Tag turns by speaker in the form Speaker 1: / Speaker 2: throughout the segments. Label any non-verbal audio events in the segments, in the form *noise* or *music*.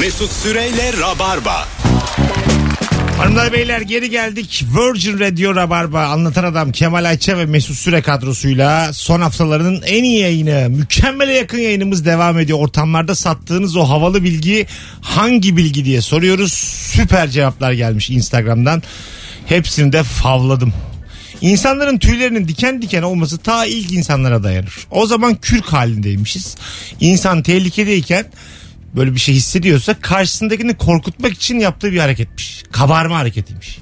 Speaker 1: Mesut Süreyle Rabarba.
Speaker 2: Hanımlar beyler geri geldik. Virgin Radio Rabarba anlatan adam Kemal Ayça ve Mesut Süre kadrosuyla son haftalarının en iyi yayını, mükemmele yakın yayınımız devam ediyor. Ortamlarda sattığınız o havalı bilgi hangi bilgi diye soruyoruz. Süper cevaplar gelmiş Instagram'dan. Hepsini de favladım. İnsanların tüylerinin diken diken olması ta ilk insanlara dayanır. O zaman kürk halindeymişiz. İnsan tehlikedeyken böyle bir şey hissediyorsa karşısındakini korkutmak için yaptığı bir hareketmiş. Kabarma hareketiymiş.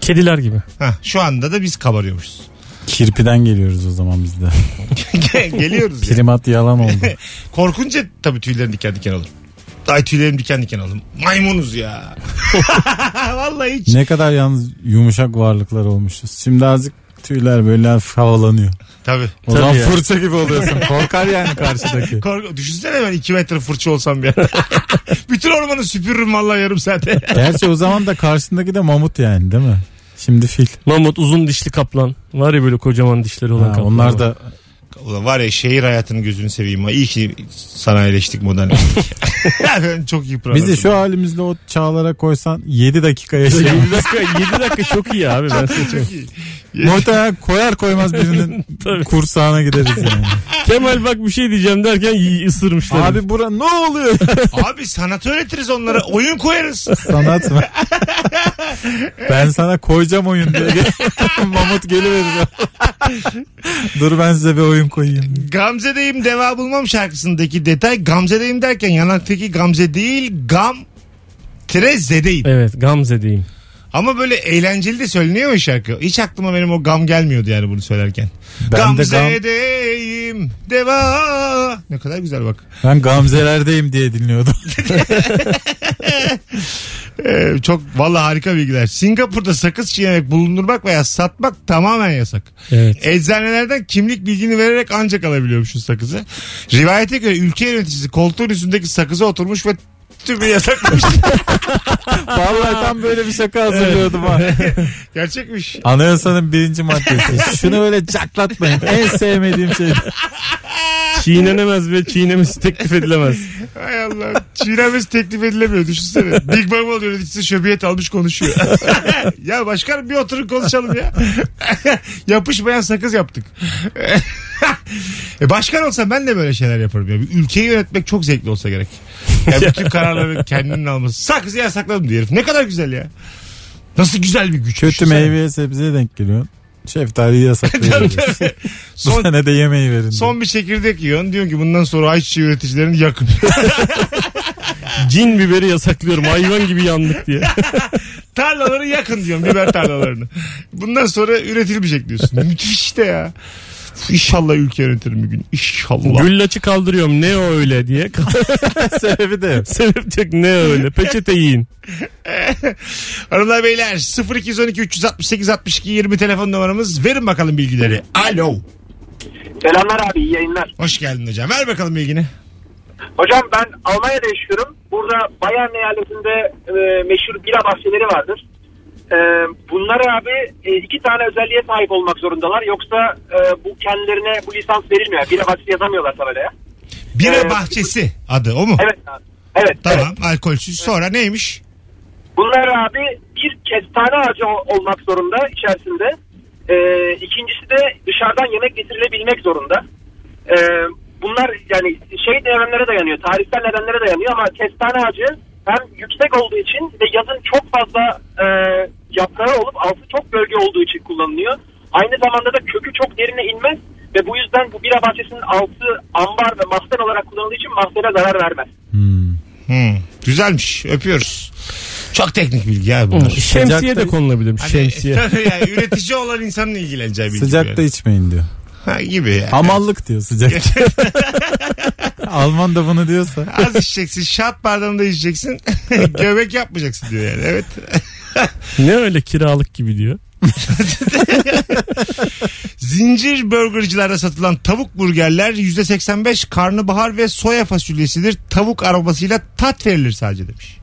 Speaker 3: Kediler gibi.
Speaker 2: Hah, şu anda da biz kabarıyormuşuz. *laughs*
Speaker 4: Kirpiden geliyoruz o zaman biz
Speaker 3: *laughs*
Speaker 4: de.
Speaker 2: Geliyoruz ya.
Speaker 4: Primat yalan oldu.
Speaker 2: Korkunca tabii tüylerin diken diken olur. Ay tüylerim diken diken olur. Maymunuz ya. *laughs* Vallahi hiç.
Speaker 4: ne kadar yalnız yumuşak varlıklar olmuşuz. Şimdi azıcık tüyler böyle hafif havalanıyor.
Speaker 2: Tabii.
Speaker 4: O zaman
Speaker 3: Tabii ya.
Speaker 4: fırça gibi oluyorsun. Korkar yani
Speaker 3: *laughs*
Speaker 4: karşıdaki.
Speaker 2: Korku, düşünsene ben 2 metre fırça olsam bir anda. *laughs* Bütün ormanı süpürürüm vallahi yarım saate. *laughs*
Speaker 4: Gerçi o zaman da karşısındaki de mamut yani değil mi? Şimdi fil.
Speaker 3: Mamut uzun dişli kaplan. Var ya böyle kocaman dişleri olan
Speaker 4: Ha,
Speaker 3: kaplan.
Speaker 4: onlar
Speaker 3: *laughs*
Speaker 4: da
Speaker 2: Ulan var ya şehir hayatının gözünü seveyim. ha. İyi ki sanayileştik
Speaker 4: *laughs*
Speaker 2: modernleştik. *laughs* ben çok yıpranırdım.
Speaker 4: bizi şu halimizle o çağlara koysan 7 dakika
Speaker 3: *laughs*
Speaker 4: yaşayalım.
Speaker 3: 7 dakika, 7 dakika çok iyi abi. Ben size çok-
Speaker 2: Çok iyi.
Speaker 4: Muhtemelen koyar koymaz birinin
Speaker 3: Tabii.
Speaker 4: kursağına gideriz yani.
Speaker 3: Kemal bak bir şey diyeceğim derken y- ısırmışlar.
Speaker 4: Abi bura ne oluyor?
Speaker 2: Abi sanat öğretiriz onlara. Oyun koyarız.
Speaker 4: Sanat *laughs* mı? ben sana koyacağım oyun diye. *laughs* Mamut geliverir. Dur ben size bir oyun koyayım.
Speaker 2: Gamze'deyim deva bulmam şarkısındaki detay Gamze'deyim derken yanaktaki Gamze değil Gam Treze'deyim.
Speaker 3: Evet Gamze diyeyim.
Speaker 2: Ama böyle eğlenceli de söyleniyor o şarkı. Hiç aklıma benim o gam gelmiyordu yani bunu söylerken.
Speaker 4: Ben de gam,
Speaker 2: Gamze'deyim deva. Ne kadar güzel bak.
Speaker 4: ben gamzelerdeyim diye dinliyordum.
Speaker 2: Ee, çok valla harika bilgiler. Singapur'da sakız çiğnemek, bulundurmak veya satmak tamamen yasak.
Speaker 3: Evet.
Speaker 2: Eczanelerden kimlik bilgini vererek ancak alabiliyormuşsun sakızı. Rivayete göre ülke yöneticisi koltuğun üstündeki sakıza oturmuş ve tümü yasaklamış.
Speaker 4: *laughs* Vallahi tam böyle bir şaka hazırlıyordum ha.
Speaker 2: Gerçekmiş.
Speaker 4: Anayasanın birinci maddesi. Şunu böyle caklatmayın. En sevmediğim şey.
Speaker 3: Çiğnenemez ve çiğnemesi teklif edilemez.
Speaker 2: Hay Allah. Çiğnemesi teklif edilemiyor. Düşünsene. Big Bang oluyor yöneticisi şöbiyet almış konuşuyor. *laughs* ya başkanım bir oturun konuşalım ya. *laughs* Yapışmayan sakız yaptık. *laughs* e başkan olsam ben de böyle şeyler yaparım. Ya. Bir Ülkeyi yönetmek çok zevkli olsa gerek. Ya bütün kararları kendinin alması. Sakızı yasakladım diye herif. Ne kadar güzel ya. Nasıl güzel bir güç.
Speaker 4: Kötü
Speaker 2: Düşünsene.
Speaker 4: meyveye sebzeye denk geliyorsun. Şeftaliyi yasaklıyoruz. Bu
Speaker 2: Son
Speaker 4: sene de yemeği verin.
Speaker 2: Son bir çekirdek yiyorsun. Diyorsun ki bundan sonra ayçiçeği üreticilerini yakın.
Speaker 3: Cin biberi yasaklıyorum hayvan gibi yandık diye.
Speaker 2: tarlaları yakın diyorum biber tarlalarını. Bundan sonra üretilmeyecek diyorsun. Müthiş işte ya. Uf, İnşallah ülke yönetirim bir gün. İnşallah.
Speaker 3: Güllaçı kaldırıyorum ne o öyle diye.
Speaker 4: diye. *laughs* sebebi de yok.
Speaker 3: Sebep yok ne öyle peçete yiyin.
Speaker 2: Hanımlar beyler 0212 368 62 20 telefon numaramız. Verin bakalım bilgileri. Alo.
Speaker 5: Selamlar abi iyi yayınlar.
Speaker 2: Hoş geldin hocam. Ver bakalım bilgini.
Speaker 5: Hocam ben Almanya'da yaşıyorum. Burada Bayern eyaletinde e, meşhur bira bahçeleri vardır. E, bunlar abi e, iki tane özelliğe sahip olmak zorundalar. Yoksa e, bu kendilerine bu lisans verilmiyor. Bira bahçesi yazamıyorlar tabelaya.
Speaker 2: Bira
Speaker 5: Ee,
Speaker 2: bahçesi adı o mu?
Speaker 5: Evet abi. Evet. evet.
Speaker 2: Tamam alkolsüz. Sonra neymiş?
Speaker 5: Bunlar abi bir kestane ağacı o- olmak zorunda içerisinde. E, ikincisi de dışarıdan yemek getirilebilmek zorunda. E, bunlar yani şey nedenlere dayanıyor. Tarihsel nedenlere dayanıyor ama kestane ağacı hem yüksek olduğu için ve yazın çok fazla e, yaprağı olup altı çok bölge olduğu için kullanılıyor. Aynı zamanda da kökü çok derine inmez ve bu yüzden bu bira bahçesinin altı ambar ve mahzen olarak kullanıldığı için mahzene zarar vermez.
Speaker 2: Hmm, güzelmiş. Öpüyoruz. Çok teknik bilgi ya bunlar.
Speaker 3: Şemsiye de
Speaker 4: Sıcakta-
Speaker 3: konulabilir.
Speaker 2: Hani,
Speaker 3: Hmm, Şemsiye.
Speaker 2: Tabii yani, üretici olan insanın ilgileneceği bilgi.
Speaker 4: Sıcakta
Speaker 2: yani.
Speaker 4: içmeyin diyor.
Speaker 2: Ha, gibi yani.
Speaker 4: Hamallık diyor sıcak. *laughs* Alman da bunu diyorsa.
Speaker 2: Az içeceksin. Şat bardağında içeceksin. *laughs* Göbek yapmayacaksın diyor yani. Evet.
Speaker 3: Ne öyle kiralık gibi diyor.
Speaker 2: Zincir burgercilerde satılan tavuk burgerler %85 karnabahar ve soya fasulyesidir. Tavuk arabasıyla tat verilir sadece demiş.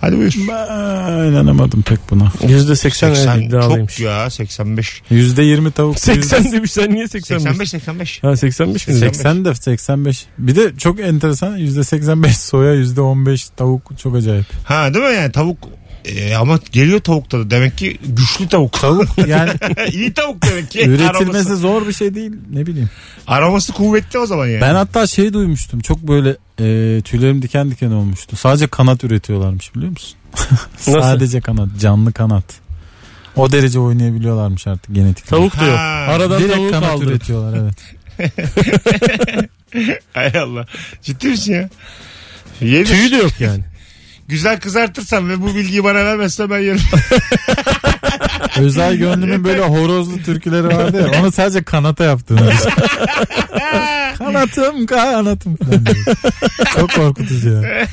Speaker 2: Hadi buyur.
Speaker 4: Ben inanamadım pek buna.
Speaker 3: Yüzde seksen
Speaker 2: 80
Speaker 3: iddialıymış.
Speaker 2: çok ya 85.
Speaker 4: Yüzde yirmi tavuk.
Speaker 3: 80 demiş sen niye 85?
Speaker 2: 85 85.
Speaker 3: Ha 85 mi?
Speaker 4: 80 de 85. Bir de çok enteresan yüzde 85 soya yüzde 15 tavuk çok acayip.
Speaker 2: Ha değil mi yani tavuk e, ama geliyor tavukta da demek ki güçlü tavuk. *laughs*
Speaker 4: Tavuk
Speaker 3: *laughs*
Speaker 4: yani
Speaker 2: İyi tavuk demek ki.
Speaker 4: üretilmesi
Speaker 2: Aroması,
Speaker 4: zor bir şey değil ne bileyim.
Speaker 2: aroması kuvvetli o zaman yani.
Speaker 4: Ben hatta şey duymuştum çok böyle e, tüylerim diken diken olmuştu. Sadece kanat üretiyorlarmış biliyor musun? *laughs*
Speaker 3: Nasıl?
Speaker 4: Sadece kanat canlı kanat. O derece oynayabiliyorlarmış artık genetik.
Speaker 3: Tavuk da yok.
Speaker 2: Ha.
Speaker 3: Aradan
Speaker 4: Direkt
Speaker 3: tavuk
Speaker 4: kanat
Speaker 3: aldı.
Speaker 4: üretiyorlar evet.
Speaker 2: Hay Allah. Ciddi misin ya? Yenir.
Speaker 3: Tüyü de
Speaker 4: *laughs*
Speaker 3: yok yani.
Speaker 2: Güzel kızartırsan ve bu bilgiyi bana vermezsen ben yerim. *laughs*
Speaker 4: Özel gönlümün böyle horozlu türküleri vardı ya. Onu sadece kanata yaptığını. kanatım kanatım falan diyor. Çok korkutucu ya.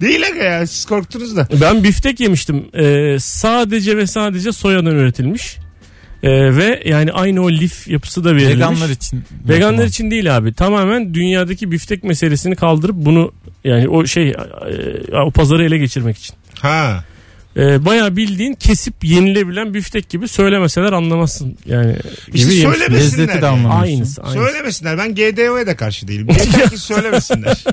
Speaker 2: Değil aga ya siz korktunuz da.
Speaker 3: Ben biftek yemiştim. Ee, sadece ve sadece soyadan üretilmiş. Ee, ve yani aynı o lif yapısı da verilmiş.
Speaker 4: Veganlar için.
Speaker 3: Veganlar için değil abi. Tamamen dünyadaki biftek meselesini kaldırıp bunu yani o şey e, o pazarı ele geçirmek için.
Speaker 2: Ha.
Speaker 3: Ee, bayağı bildiğin kesip yenilebilen biftek gibi söylemeseler anlamazsın. Yani
Speaker 2: İşte
Speaker 3: gibi yemiş-
Speaker 2: söylemesinler.
Speaker 4: Lezzeti
Speaker 2: yani.
Speaker 4: de anlamıyorsun.
Speaker 3: Aynısı, aynısı.
Speaker 2: Söylemesinler. Ben GDO'ya da karşı değilim. Yeter
Speaker 3: *laughs*
Speaker 2: ki söylemesinler.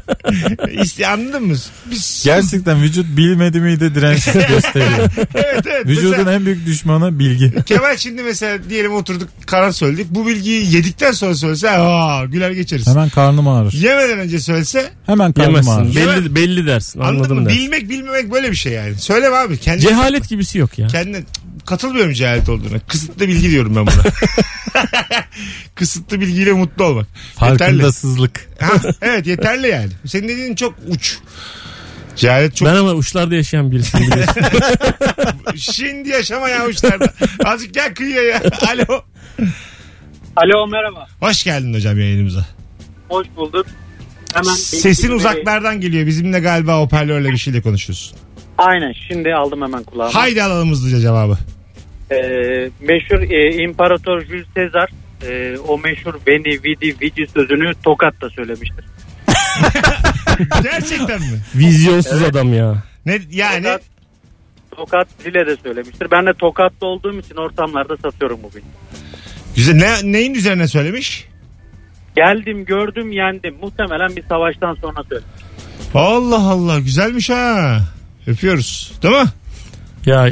Speaker 2: İşte anladın mı? Biz...
Speaker 4: Gerçekten vücut bilmedi miydi direnç gösteriyor.
Speaker 2: evet, evet.
Speaker 4: Vücudun
Speaker 2: Mesela
Speaker 4: en büyük düşmanı bilgi.
Speaker 2: Kemal şimdi mesela diyelim oturduk karar söyledik. Bu bilgiyi yedikten sonra söylese aa güler geçeriz.
Speaker 4: Hemen karnım ağrır.
Speaker 2: Yemeden önce söylese
Speaker 4: Hemen karnım
Speaker 3: Yemezsin.
Speaker 4: ağrır.
Speaker 3: Belli, belli dersin.
Speaker 2: anladın
Speaker 3: Anladım
Speaker 2: mı?
Speaker 3: dersin.
Speaker 2: Bilmek bilmemek böyle bir şey yani. Söyleme abi. Kendi,
Speaker 3: Cehalet gibisi yok ya.
Speaker 2: kendine katılmıyorum cehalet olduğuna. Kısıtlı bilgi diyorum ben buna. *laughs* Kısıtlı bilgiyle mutlu olmak. Yeterli.
Speaker 4: Farkındasızlık.
Speaker 2: Ha, evet yeterli yani. Senin dediğin çok uç. Cehalet çok.
Speaker 3: Ben ama uçlarda yaşayan
Speaker 2: *laughs*
Speaker 3: birisiyim biliyorsun.
Speaker 2: Şimdi yaşama ya uçlarda. Azıcık gel kıyıya ya. Alo.
Speaker 6: Alo merhaba.
Speaker 2: Hoş geldin hocam yayınımıza.
Speaker 6: Hoş bulduk. Hemen
Speaker 2: Sesin uzaklardan geliyor. Bizimle galiba hoparlörle bir şeyle konuşuyorsun.
Speaker 6: Aynen şimdi aldım hemen kulağıma.
Speaker 2: Haydi alalım hızlıca cevabı.
Speaker 6: Ee, meşhur e, İmparator Jules Caesar e, o meşhur Veni Vidi Vici sözünü Tokat'ta söylemiştir.
Speaker 2: Gerçekten mi?
Speaker 3: Vizyonsuz adam ya.
Speaker 2: Ne yani?
Speaker 6: Tokat, Tokat Zile'de söylemiştir. Ben de Tokat'ta olduğum için ortamlarda satıyorum bugün.
Speaker 2: Güzel. Ne, neyin üzerine söylemiş?
Speaker 6: Geldim gördüm yendim. Muhtemelen bir savaştan sonra söyledim.
Speaker 2: Allah Allah güzelmiş ha. Öpüyoruz. Değil mi?
Speaker 3: Ya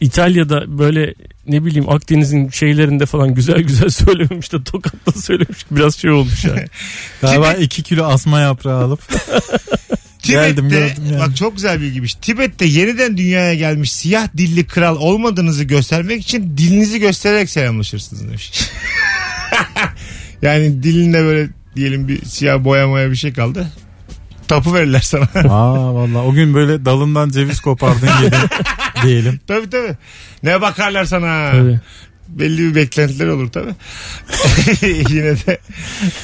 Speaker 3: İtalya'da böyle ne bileyim Akdeniz'in şeylerinde falan güzel güzel *laughs* söylememiş de Tokat'ta söylemiş. Biraz şey olmuş yani.
Speaker 4: Galiba 2 kilo asma yaprağı alıp
Speaker 2: Tibet'te,
Speaker 4: Geldim, gördüm yani.
Speaker 2: Bak çok güzel bilgiymiş. Tibet'te yeniden dünyaya gelmiş siyah dilli kral olmadığınızı göstermek için dilinizi göstererek selamlaşırsınız demiş. *laughs* yani dilinde böyle diyelim bir siyah boyamaya bir şey kaldı. Tapu verirler sana. *laughs*
Speaker 4: Aa vallahi o gün böyle dalından ceviz kopardın yedin diyelim.
Speaker 2: tabii tabii. Ne bakarlar sana.
Speaker 3: Tabii.
Speaker 2: Belli bir beklentiler olur tabii. *laughs* Yine de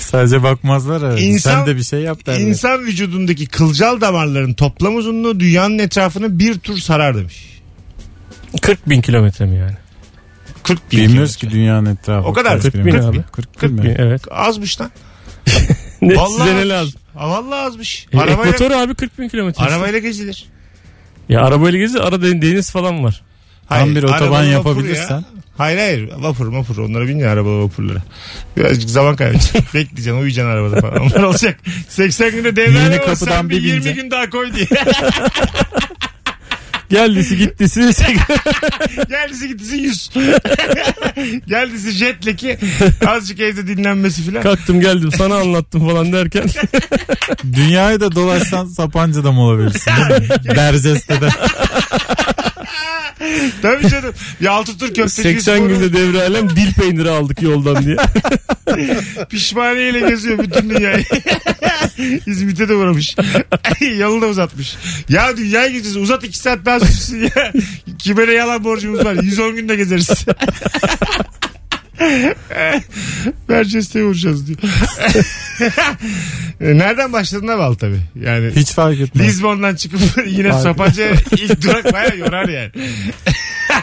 Speaker 4: Sadece bakmazlar evet.
Speaker 2: İnsan-
Speaker 4: Sen de bir şey yap derler.
Speaker 2: insan vücudundaki kılcal damarların toplam uzunluğu dünyanın etrafını bir tur sarar demiş.
Speaker 3: 40 bin kilometre mi yani?
Speaker 2: 40 bin
Speaker 4: Bilmiyoruz
Speaker 2: kilometre.
Speaker 4: ki dünyanın etrafı.
Speaker 2: O kadar.
Speaker 3: 40 bin abi.
Speaker 4: 40 bin
Speaker 3: 40 bin
Speaker 4: mi?
Speaker 3: evet.
Speaker 2: Azmış lan.
Speaker 3: Ne,
Speaker 2: Vallahi
Speaker 3: size ne
Speaker 2: azmış.
Speaker 3: lazım?
Speaker 2: Ha, vallahi azmış.
Speaker 3: E,
Speaker 2: arabayla,
Speaker 3: Ekvator abi 40 bin kilometre. işte.
Speaker 2: arabayla gezilir.
Speaker 3: Ya arabayla gezi ara de- deniz falan var.
Speaker 4: Tam bir otoban
Speaker 2: arabalı vapur
Speaker 4: yapabilirsen.
Speaker 2: ya. Hayır hayır vapur vapur onlara bin ya arabalı vapurlara. Birazcık zaman
Speaker 4: *laughs*
Speaker 2: kaybedeceksin. Bekleyeceksin uyuyacaksın arabada falan. Onlar olacak. 80 günde
Speaker 4: Yeni
Speaker 2: devre ama sen
Speaker 4: kapıdan
Speaker 2: bir
Speaker 4: bir
Speaker 2: 20
Speaker 4: bineceksin.
Speaker 2: gün daha koy
Speaker 4: *laughs*
Speaker 2: diye.
Speaker 3: Geldisi
Speaker 2: *laughs*
Speaker 3: gittisi. *laughs*
Speaker 2: Geldisi gittisi *laughs* 100. Geldisi jetleki azıcık evde dinlenmesi falan.
Speaker 3: Kalktım geldim sana anlattım falan derken.
Speaker 4: *laughs*
Speaker 3: *laughs*
Speaker 4: Dünyayı da dolaşsan Sapanca'da mı olabilirsin? Berceste'de.
Speaker 2: Tabii canım. Yaltı Türk köfteci
Speaker 3: 80 günde devre alem dil peyniri aldık yoldan
Speaker 2: *laughs*
Speaker 3: diye.
Speaker 2: Pişmaniyeyle geziyor bütün dünyayı. İzmit'e de uğramış. Yolu da uzatmış. Ya dünyayı gezeceğiz. Uzat iki saat daha sürsün ya. Kime ne yalan borcumuz var. 110 günde gezeriz. *laughs* Merces'te uğrayacağız diyor. *laughs* E, Nereden başladığına bağlı tabii. Yani
Speaker 4: Hiç fark etmez.
Speaker 2: Lisbon'dan çıkıp *laughs* yine
Speaker 4: Abi.
Speaker 2: Sapanca'ya ilk durak baya yorar yani.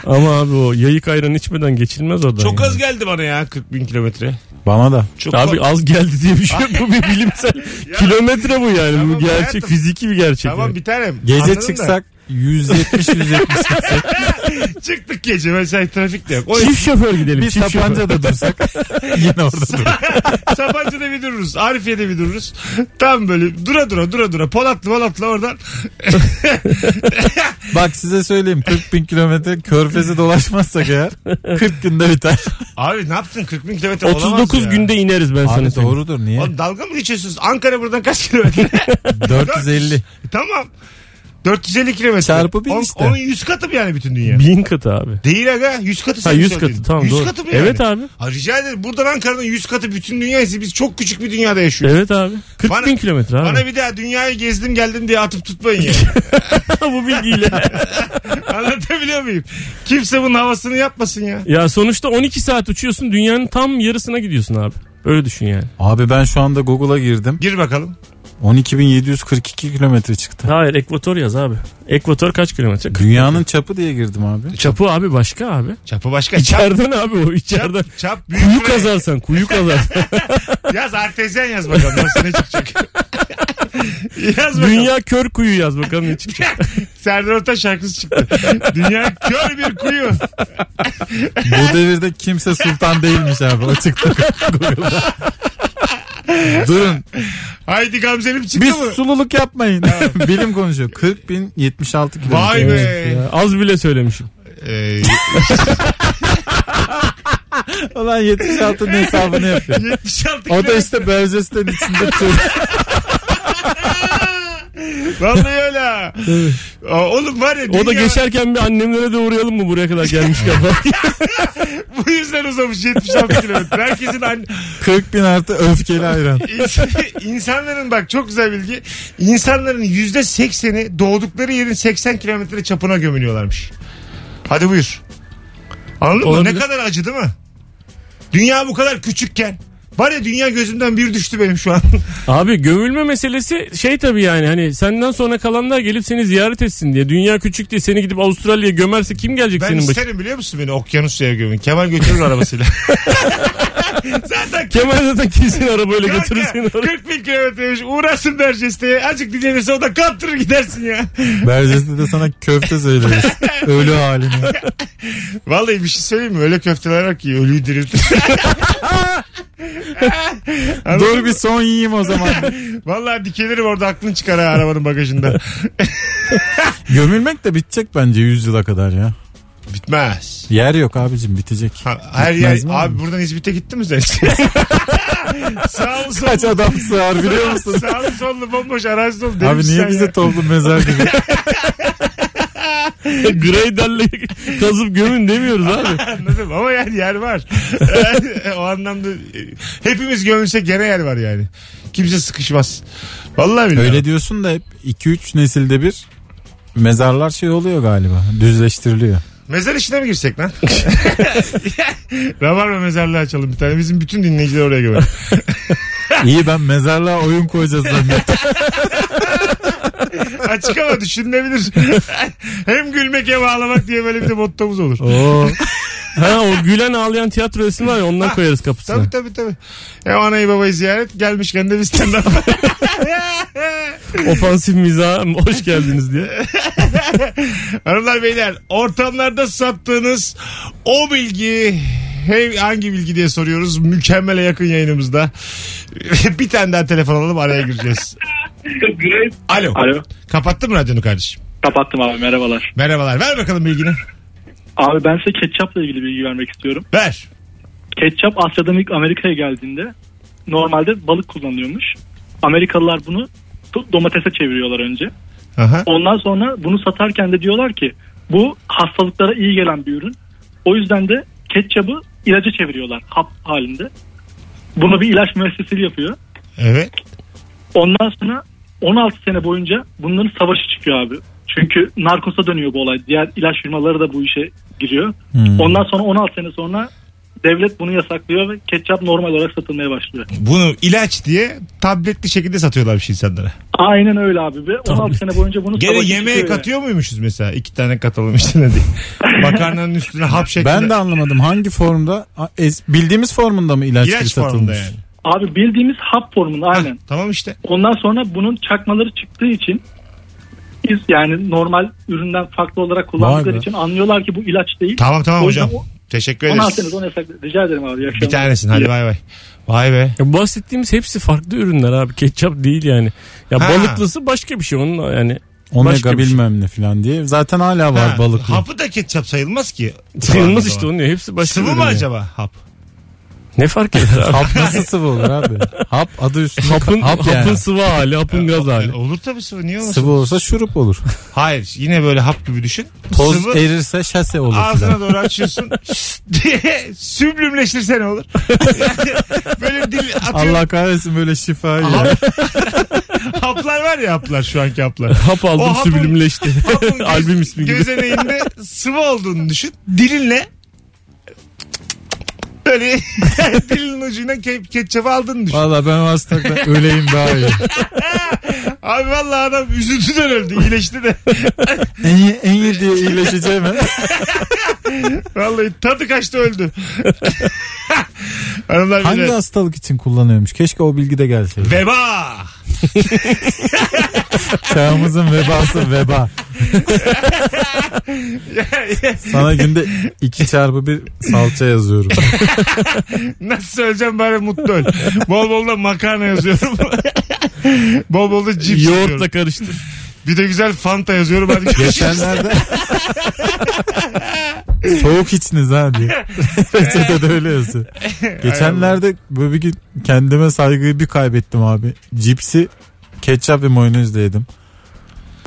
Speaker 3: Ama abi o yayık ayran içmeden geçilmez oradan.
Speaker 2: Çok
Speaker 3: yani.
Speaker 2: az geldi bana ya 40 bin kilometre.
Speaker 4: Bana da.
Speaker 2: Çok
Speaker 3: Abi az geldi diye bir
Speaker 2: *laughs*
Speaker 3: şey yok. Bu bir bilimsel kilometre bu yani.
Speaker 2: Tamam
Speaker 3: bu gerçek
Speaker 2: hayatım.
Speaker 3: fiziki bir gerçek.
Speaker 2: Tamam
Speaker 3: yani.
Speaker 2: bir tanem.
Speaker 4: Gece
Speaker 2: Anladım da.
Speaker 4: çıksak 170-170 gitsek.
Speaker 2: Çıktık gece mesela trafik de yok. *laughs* O
Speaker 3: Çift şoför gidelim.
Speaker 4: Bir
Speaker 3: çift şoför.
Speaker 4: Sapanca'da dursak *laughs* yine orada dururuz.
Speaker 2: *laughs* Sabancı'da bir dururuz. Arifiye'de bir dururuz. Tam böyle dura dura dura dura. Polatlı Polatlı oradan.
Speaker 4: Bak size söyleyeyim 40 bin kilometre körfezi dolaşmazsak eğer 40 günde biter.
Speaker 2: Abi ne yaptın 40 bin kilometre olamaz
Speaker 3: 39
Speaker 2: ya.
Speaker 3: günde ineriz ben sana
Speaker 4: Abi
Speaker 3: söyleyeyim.
Speaker 4: doğrudur niye?
Speaker 2: Oğlum dalga mı geçiyorsunuz? Ankara buradan kaç
Speaker 3: *laughs*
Speaker 2: kilometre? *laughs*
Speaker 4: 450.
Speaker 2: tamam. 450 kilometre.
Speaker 4: Çarpı bin
Speaker 2: On-
Speaker 4: işte.
Speaker 2: Onun 100 katı mı yani bütün dünya?
Speaker 3: Bin katı abi.
Speaker 2: Değil aga 100 katı
Speaker 3: Ha
Speaker 2: sen
Speaker 3: 100
Speaker 2: söyledin.
Speaker 3: katı tamam
Speaker 2: 100
Speaker 3: doğru.
Speaker 2: katı mı yani?
Speaker 3: Evet abi.
Speaker 2: Ha, rica ederim. Buradan Ankara'nın 100 katı bütün dünya ise biz çok küçük bir dünyada yaşıyoruz.
Speaker 3: Evet abi. 40
Speaker 2: Bana-
Speaker 3: bin kilometre abi.
Speaker 2: Bana bir daha dünyayı gezdim geldim diye atıp tutmayın ya.
Speaker 3: *laughs* Bu bilgiyle.
Speaker 2: Anlatabiliyor muyum? Kimse bunun havasını yapmasın ya.
Speaker 3: ya sonuçta 12 saat uçuyorsun dünyanın tam yarısına gidiyorsun abi. Öyle düşün yani.
Speaker 4: Abi ben şu anda Google'a girdim.
Speaker 2: Gir bakalım.
Speaker 4: 12.742 kilometre çıktı.
Speaker 3: Hayır ekvator yaz abi. Ekvator kaç kilometre?
Speaker 4: Dünyanın çapı diye girdim abi.
Speaker 3: Çapı abi başka abi.
Speaker 2: Çapı başka. Çap,
Speaker 3: İçeriden abi o içeriden.
Speaker 2: çap, çap büyük.
Speaker 3: Kuyu
Speaker 2: mü?
Speaker 3: kazarsan kuyu
Speaker 2: *laughs*
Speaker 3: kazarsan.
Speaker 2: Yaz artezyen yaz bakalım. Nasıl ne
Speaker 3: *laughs*
Speaker 2: çıkacak? yaz bakalım.
Speaker 3: Dünya kör kuyu yaz bakalım ne çıkacak.
Speaker 2: *laughs* Serdar Ortaç şarkısı çıktı. Dünya kör bir kuyu.
Speaker 4: Bu devirde kimse sultan değilmiş abi. O çıktı Google'da. Durun.
Speaker 2: Haydi Gamze'lim çıktı
Speaker 4: Bir
Speaker 2: mı?
Speaker 4: sululuk yapmayın. *laughs* Bilim konuşuyor. 40.076 kilometre.
Speaker 2: Vay be.
Speaker 3: Ya, az bile söylemişim.
Speaker 2: Ee,
Speaker 4: Ulan 76'nın hesabını yapıyor.
Speaker 2: 76 *laughs*
Speaker 4: O da
Speaker 2: kilometre.
Speaker 4: işte Bevzes'ten içinde tur.
Speaker 2: Vallahi öyle. ha. Aa, Oğlum var ya.
Speaker 3: O da
Speaker 2: dünya-
Speaker 3: geçerken bir annemlere de uğrayalım mı buraya
Speaker 2: *laughs*
Speaker 3: kadar gelmiş kafa.
Speaker 2: Bu yüzden uzamış 76 kilometre. Herkesin an...
Speaker 4: 40 bin artı öfkeli ayran.
Speaker 2: İns- *laughs* insanların bak çok güzel bilgi. İnsanların yüzde sekseni doğdukları yerin 80 kilometre çapına gömülüyorlarmış. Hadi buyur. Anladın mı?
Speaker 3: Olabilir.
Speaker 2: Ne kadar acı değil mi? Dünya bu kadar küçükken. Var ya dünya gözümden bir düştü benim şu an. *laughs*
Speaker 3: Abi gömülme meselesi şey tabii yani hani senden sonra kalanlar gelip seni ziyaret etsin diye. Dünya küçük diye seni gidip Avustralya'ya gömerse kim gelecek
Speaker 2: Ben
Speaker 3: senin başına?
Speaker 2: isterim biliyor musun beni okyanusya'ya gömün. Kemal götürür
Speaker 3: *laughs*
Speaker 2: arabasıyla. Zaten
Speaker 3: Kemal zaten kesin arabayla
Speaker 2: Kanka,
Speaker 3: götürür seni oraya.
Speaker 2: 40 bin kilometreymiş uğraşsın Berceste'ye azıcık dinlenirse o da kaptırır gidersin ya.
Speaker 4: Berces'te de sana köfte söyleriz. Ölü halini.
Speaker 2: Vallahi bir şey söyleyeyim mi öyle köfteler var ki ölüyü
Speaker 4: *laughs*
Speaker 2: diriltir. Anladın
Speaker 4: Dur
Speaker 2: mı?
Speaker 4: bir son yiyeyim o zaman.
Speaker 2: Vallahi dikelirim orada aklın çıkar ha arabanın bagajında.
Speaker 4: Gömülmek de bitecek bence 100 yıla kadar ya.
Speaker 2: Bitmez.
Speaker 4: Yer yok abicim bitecek.
Speaker 2: Ha, her yer
Speaker 4: Bitmez mi
Speaker 2: abi
Speaker 4: abi?
Speaker 2: buradan İzmit'e gitti
Speaker 4: *laughs*
Speaker 2: mi sen? Sağlı sollu.
Speaker 4: Kaç adam sığar biliyor musun?
Speaker 2: Sağlı sollu bomboş arazi dolu.
Speaker 4: Abi
Speaker 2: demişsin
Speaker 4: niye
Speaker 2: sen
Speaker 4: bize
Speaker 2: ya.
Speaker 4: toplu mezar gibi?
Speaker 3: Greyderle kazıp gömün demiyoruz abi.
Speaker 2: Anladım ama yani yer var. *laughs* o anlamda e, hepimiz gömülse gene yer var yani. Kimse sıkışmaz. Vallahi billahi.
Speaker 4: Öyle diyorsun da hep 2-3 nesilde bir mezarlar şey oluyor galiba. Düzleştiriliyor.
Speaker 2: Mezar işine mi girsek lan? *laughs* Rabarba mezarlığı açalım bir tane. Bizim bütün dinleyiciler oraya gömer.
Speaker 4: İyi ben mezarlığa oyun koyacağız
Speaker 2: *laughs*
Speaker 4: zannettim.
Speaker 2: Açık ama düşünülebilir. *laughs* hem gülmek hem ağlamak diye böyle bir de mottomuz olur.
Speaker 4: Oo.
Speaker 3: Ha o gülen ağlayan tiyatro resmi var ya ondan koyarız kapısına.
Speaker 2: Tabii tabii tabii. Hem anayı babayı ziyaret gelmişken de biz stand
Speaker 3: Ofansif mizaha hoş geldiniz diye.
Speaker 2: Hanımlar beyler ortamlarda sattığınız o bilgi hey, hangi bilgi diye soruyoruz. Mükemmele yakın yayınımızda. *laughs* bir tane daha telefon alalım araya gireceğiz. Alo.
Speaker 7: Alo.
Speaker 2: Kapattın mı radyonu kardeşim?
Speaker 7: Kapattım abi merhabalar.
Speaker 2: Merhabalar. Ver bakalım bilgini.
Speaker 7: Abi ben size ketçapla ilgili bilgi vermek istiyorum.
Speaker 2: Ver.
Speaker 7: Ketçap Asya'dan ilk Amerika'ya geldiğinde normalde balık kullanılıyormuş. Amerikalılar bunu do- domatese çeviriyorlar önce.
Speaker 2: Aha.
Speaker 7: Ondan sonra bunu satarken de diyorlar ki bu hastalıklara iyi gelen bir ürün. O yüzden de ketçabı ilaca çeviriyorlar hap halinde. Bunu bir ilaç müessesesi yapıyor.
Speaker 2: Evet.
Speaker 7: Ondan sonra 16 sene boyunca bunların savaşı çıkıyor abi. Çünkü narkosa dönüyor bu olay. Diğer ilaç firmaları da bu işe giriyor.
Speaker 4: Hmm.
Speaker 7: Ondan sonra 16 sene sonra devlet bunu yasaklıyor ve ketçap normal olarak satılmaya başlıyor.
Speaker 2: Bunu ilaç diye tabletli şekilde satıyorlarmış insanlara.
Speaker 7: Aynen öyle abi ve 16 sene boyunca bunu
Speaker 2: Gene
Speaker 7: savaşı
Speaker 2: yemeğe
Speaker 7: çıkıyor yani.
Speaker 2: katıyor muymuşuz mesela? İki tane katalım işte ne
Speaker 7: *laughs*
Speaker 2: diyeyim. Makarnanın üstüne hap şeklinde.
Speaker 4: Ben de anlamadım hangi formda Ha, es- bildiğimiz formunda mı ilaç, gibi
Speaker 2: ilaç formunda
Speaker 4: satılmış?
Speaker 2: yani.
Speaker 7: Abi bildiğimiz hap formunu aynen.
Speaker 2: Tamam işte.
Speaker 7: Ondan sonra bunun çakmaları çıktığı için iz yani normal üründen farklı olarak
Speaker 4: Vay
Speaker 7: kullandıkları
Speaker 4: be.
Speaker 7: için anlıyorlar ki bu ilaç değil.
Speaker 2: Tamam tamam
Speaker 7: O
Speaker 2: hocam.
Speaker 7: yüzden
Speaker 2: Teşekkür
Speaker 7: o- Onu
Speaker 2: ederiz.
Speaker 7: alsanız onu yasak. Rica ederim abi. iyi
Speaker 2: Bir
Speaker 7: akşamlar.
Speaker 2: tanesin hadi bay bay. Vay be.
Speaker 3: Ya bahsettiğimiz hepsi farklı ürünler abi. Ketçap değil yani. Ya
Speaker 2: Ha.
Speaker 3: balıklısı başka bir şey onun yani. Başka
Speaker 4: Omega
Speaker 3: bir şey.
Speaker 4: bilmem ne falan diye. Zaten hala var
Speaker 2: Ha,
Speaker 4: balıklı.
Speaker 2: Hapı da ketçap sayılmaz ki.
Speaker 3: Sayılmaz işte onun ya. Hepsi başka
Speaker 2: Sıvı
Speaker 3: ürün
Speaker 2: mı
Speaker 3: yani.
Speaker 2: acaba hap?
Speaker 3: Ne fark eder
Speaker 4: *laughs*
Speaker 3: abi?
Speaker 4: Hap nasıl sıvı olur abi? Hap adı üstünde.
Speaker 3: Hapın,
Speaker 4: hap yani.
Speaker 3: hapın sıvı
Speaker 2: *laughs*
Speaker 3: hali, hapın gaz hali.
Speaker 2: E, Olur tabii sıvı niye olmasın?
Speaker 4: Sıvı olursa şurup olur.
Speaker 2: Hayır yine böyle hap gibi düşün.
Speaker 4: Toz
Speaker 2: sıvı
Speaker 4: erirse şase olur.
Speaker 2: ağzına
Speaker 4: filan.
Speaker 2: doğru açıyorsun diye süblümleştirsen olur. böyle dil atıyor.
Speaker 4: Allah kahretsin böyle şifayı. ya.
Speaker 2: Hap- haplar var ya haplar şu anki
Speaker 3: *laughs*
Speaker 2: haplar.
Speaker 3: Hap
Speaker 2: O
Speaker 3: aldım
Speaker 2: hapın-
Speaker 3: süblimleşti.
Speaker 2: *laughs*
Speaker 3: *laughs*
Speaker 2: Hapın göz-
Speaker 3: Albüm ismi gibi.
Speaker 2: Gözeneğinde sıvı olduğunu düşün. Dilinle böyle *laughs* dilin ucuyla ke- ketçapı aldığını düşün.
Speaker 4: Valla ben o hastalıktan öleyim daha iyi.
Speaker 2: Abi vallahi adam üzüntüden öldü. iyileşti de.
Speaker 4: En iyi, en iyi diye iyileşeceğim. ha.
Speaker 2: Vallahi tadı kaçtı öldü. *laughs* Hanımlar
Speaker 4: Hangi
Speaker 2: bile.
Speaker 4: hastalık için kullanıyormuş? Keşke o bilgi de gelseydi.
Speaker 2: Veba.
Speaker 4: Çağımızın vebası veba. Sana günde iki çarpı bir salça yazıyorum.
Speaker 2: Nasıl söyleyeceğim bari mutlu öl. Bol bol da makarna yazıyorum. *laughs* bol bol da cips
Speaker 3: Yoğurtla
Speaker 2: yazıyorum. *laughs*
Speaker 3: karıştır.
Speaker 2: Bir de güzel fanta yazıyorum. Hadi görüşürüz.
Speaker 4: Geçenlerde soğuk içiniz ha diye. Reçete de öyle yazıyor. Geçenlerde böyle bir gün kendime saygıyı bir kaybettim abi. Cipsi ketçap ve mayonezle yedim.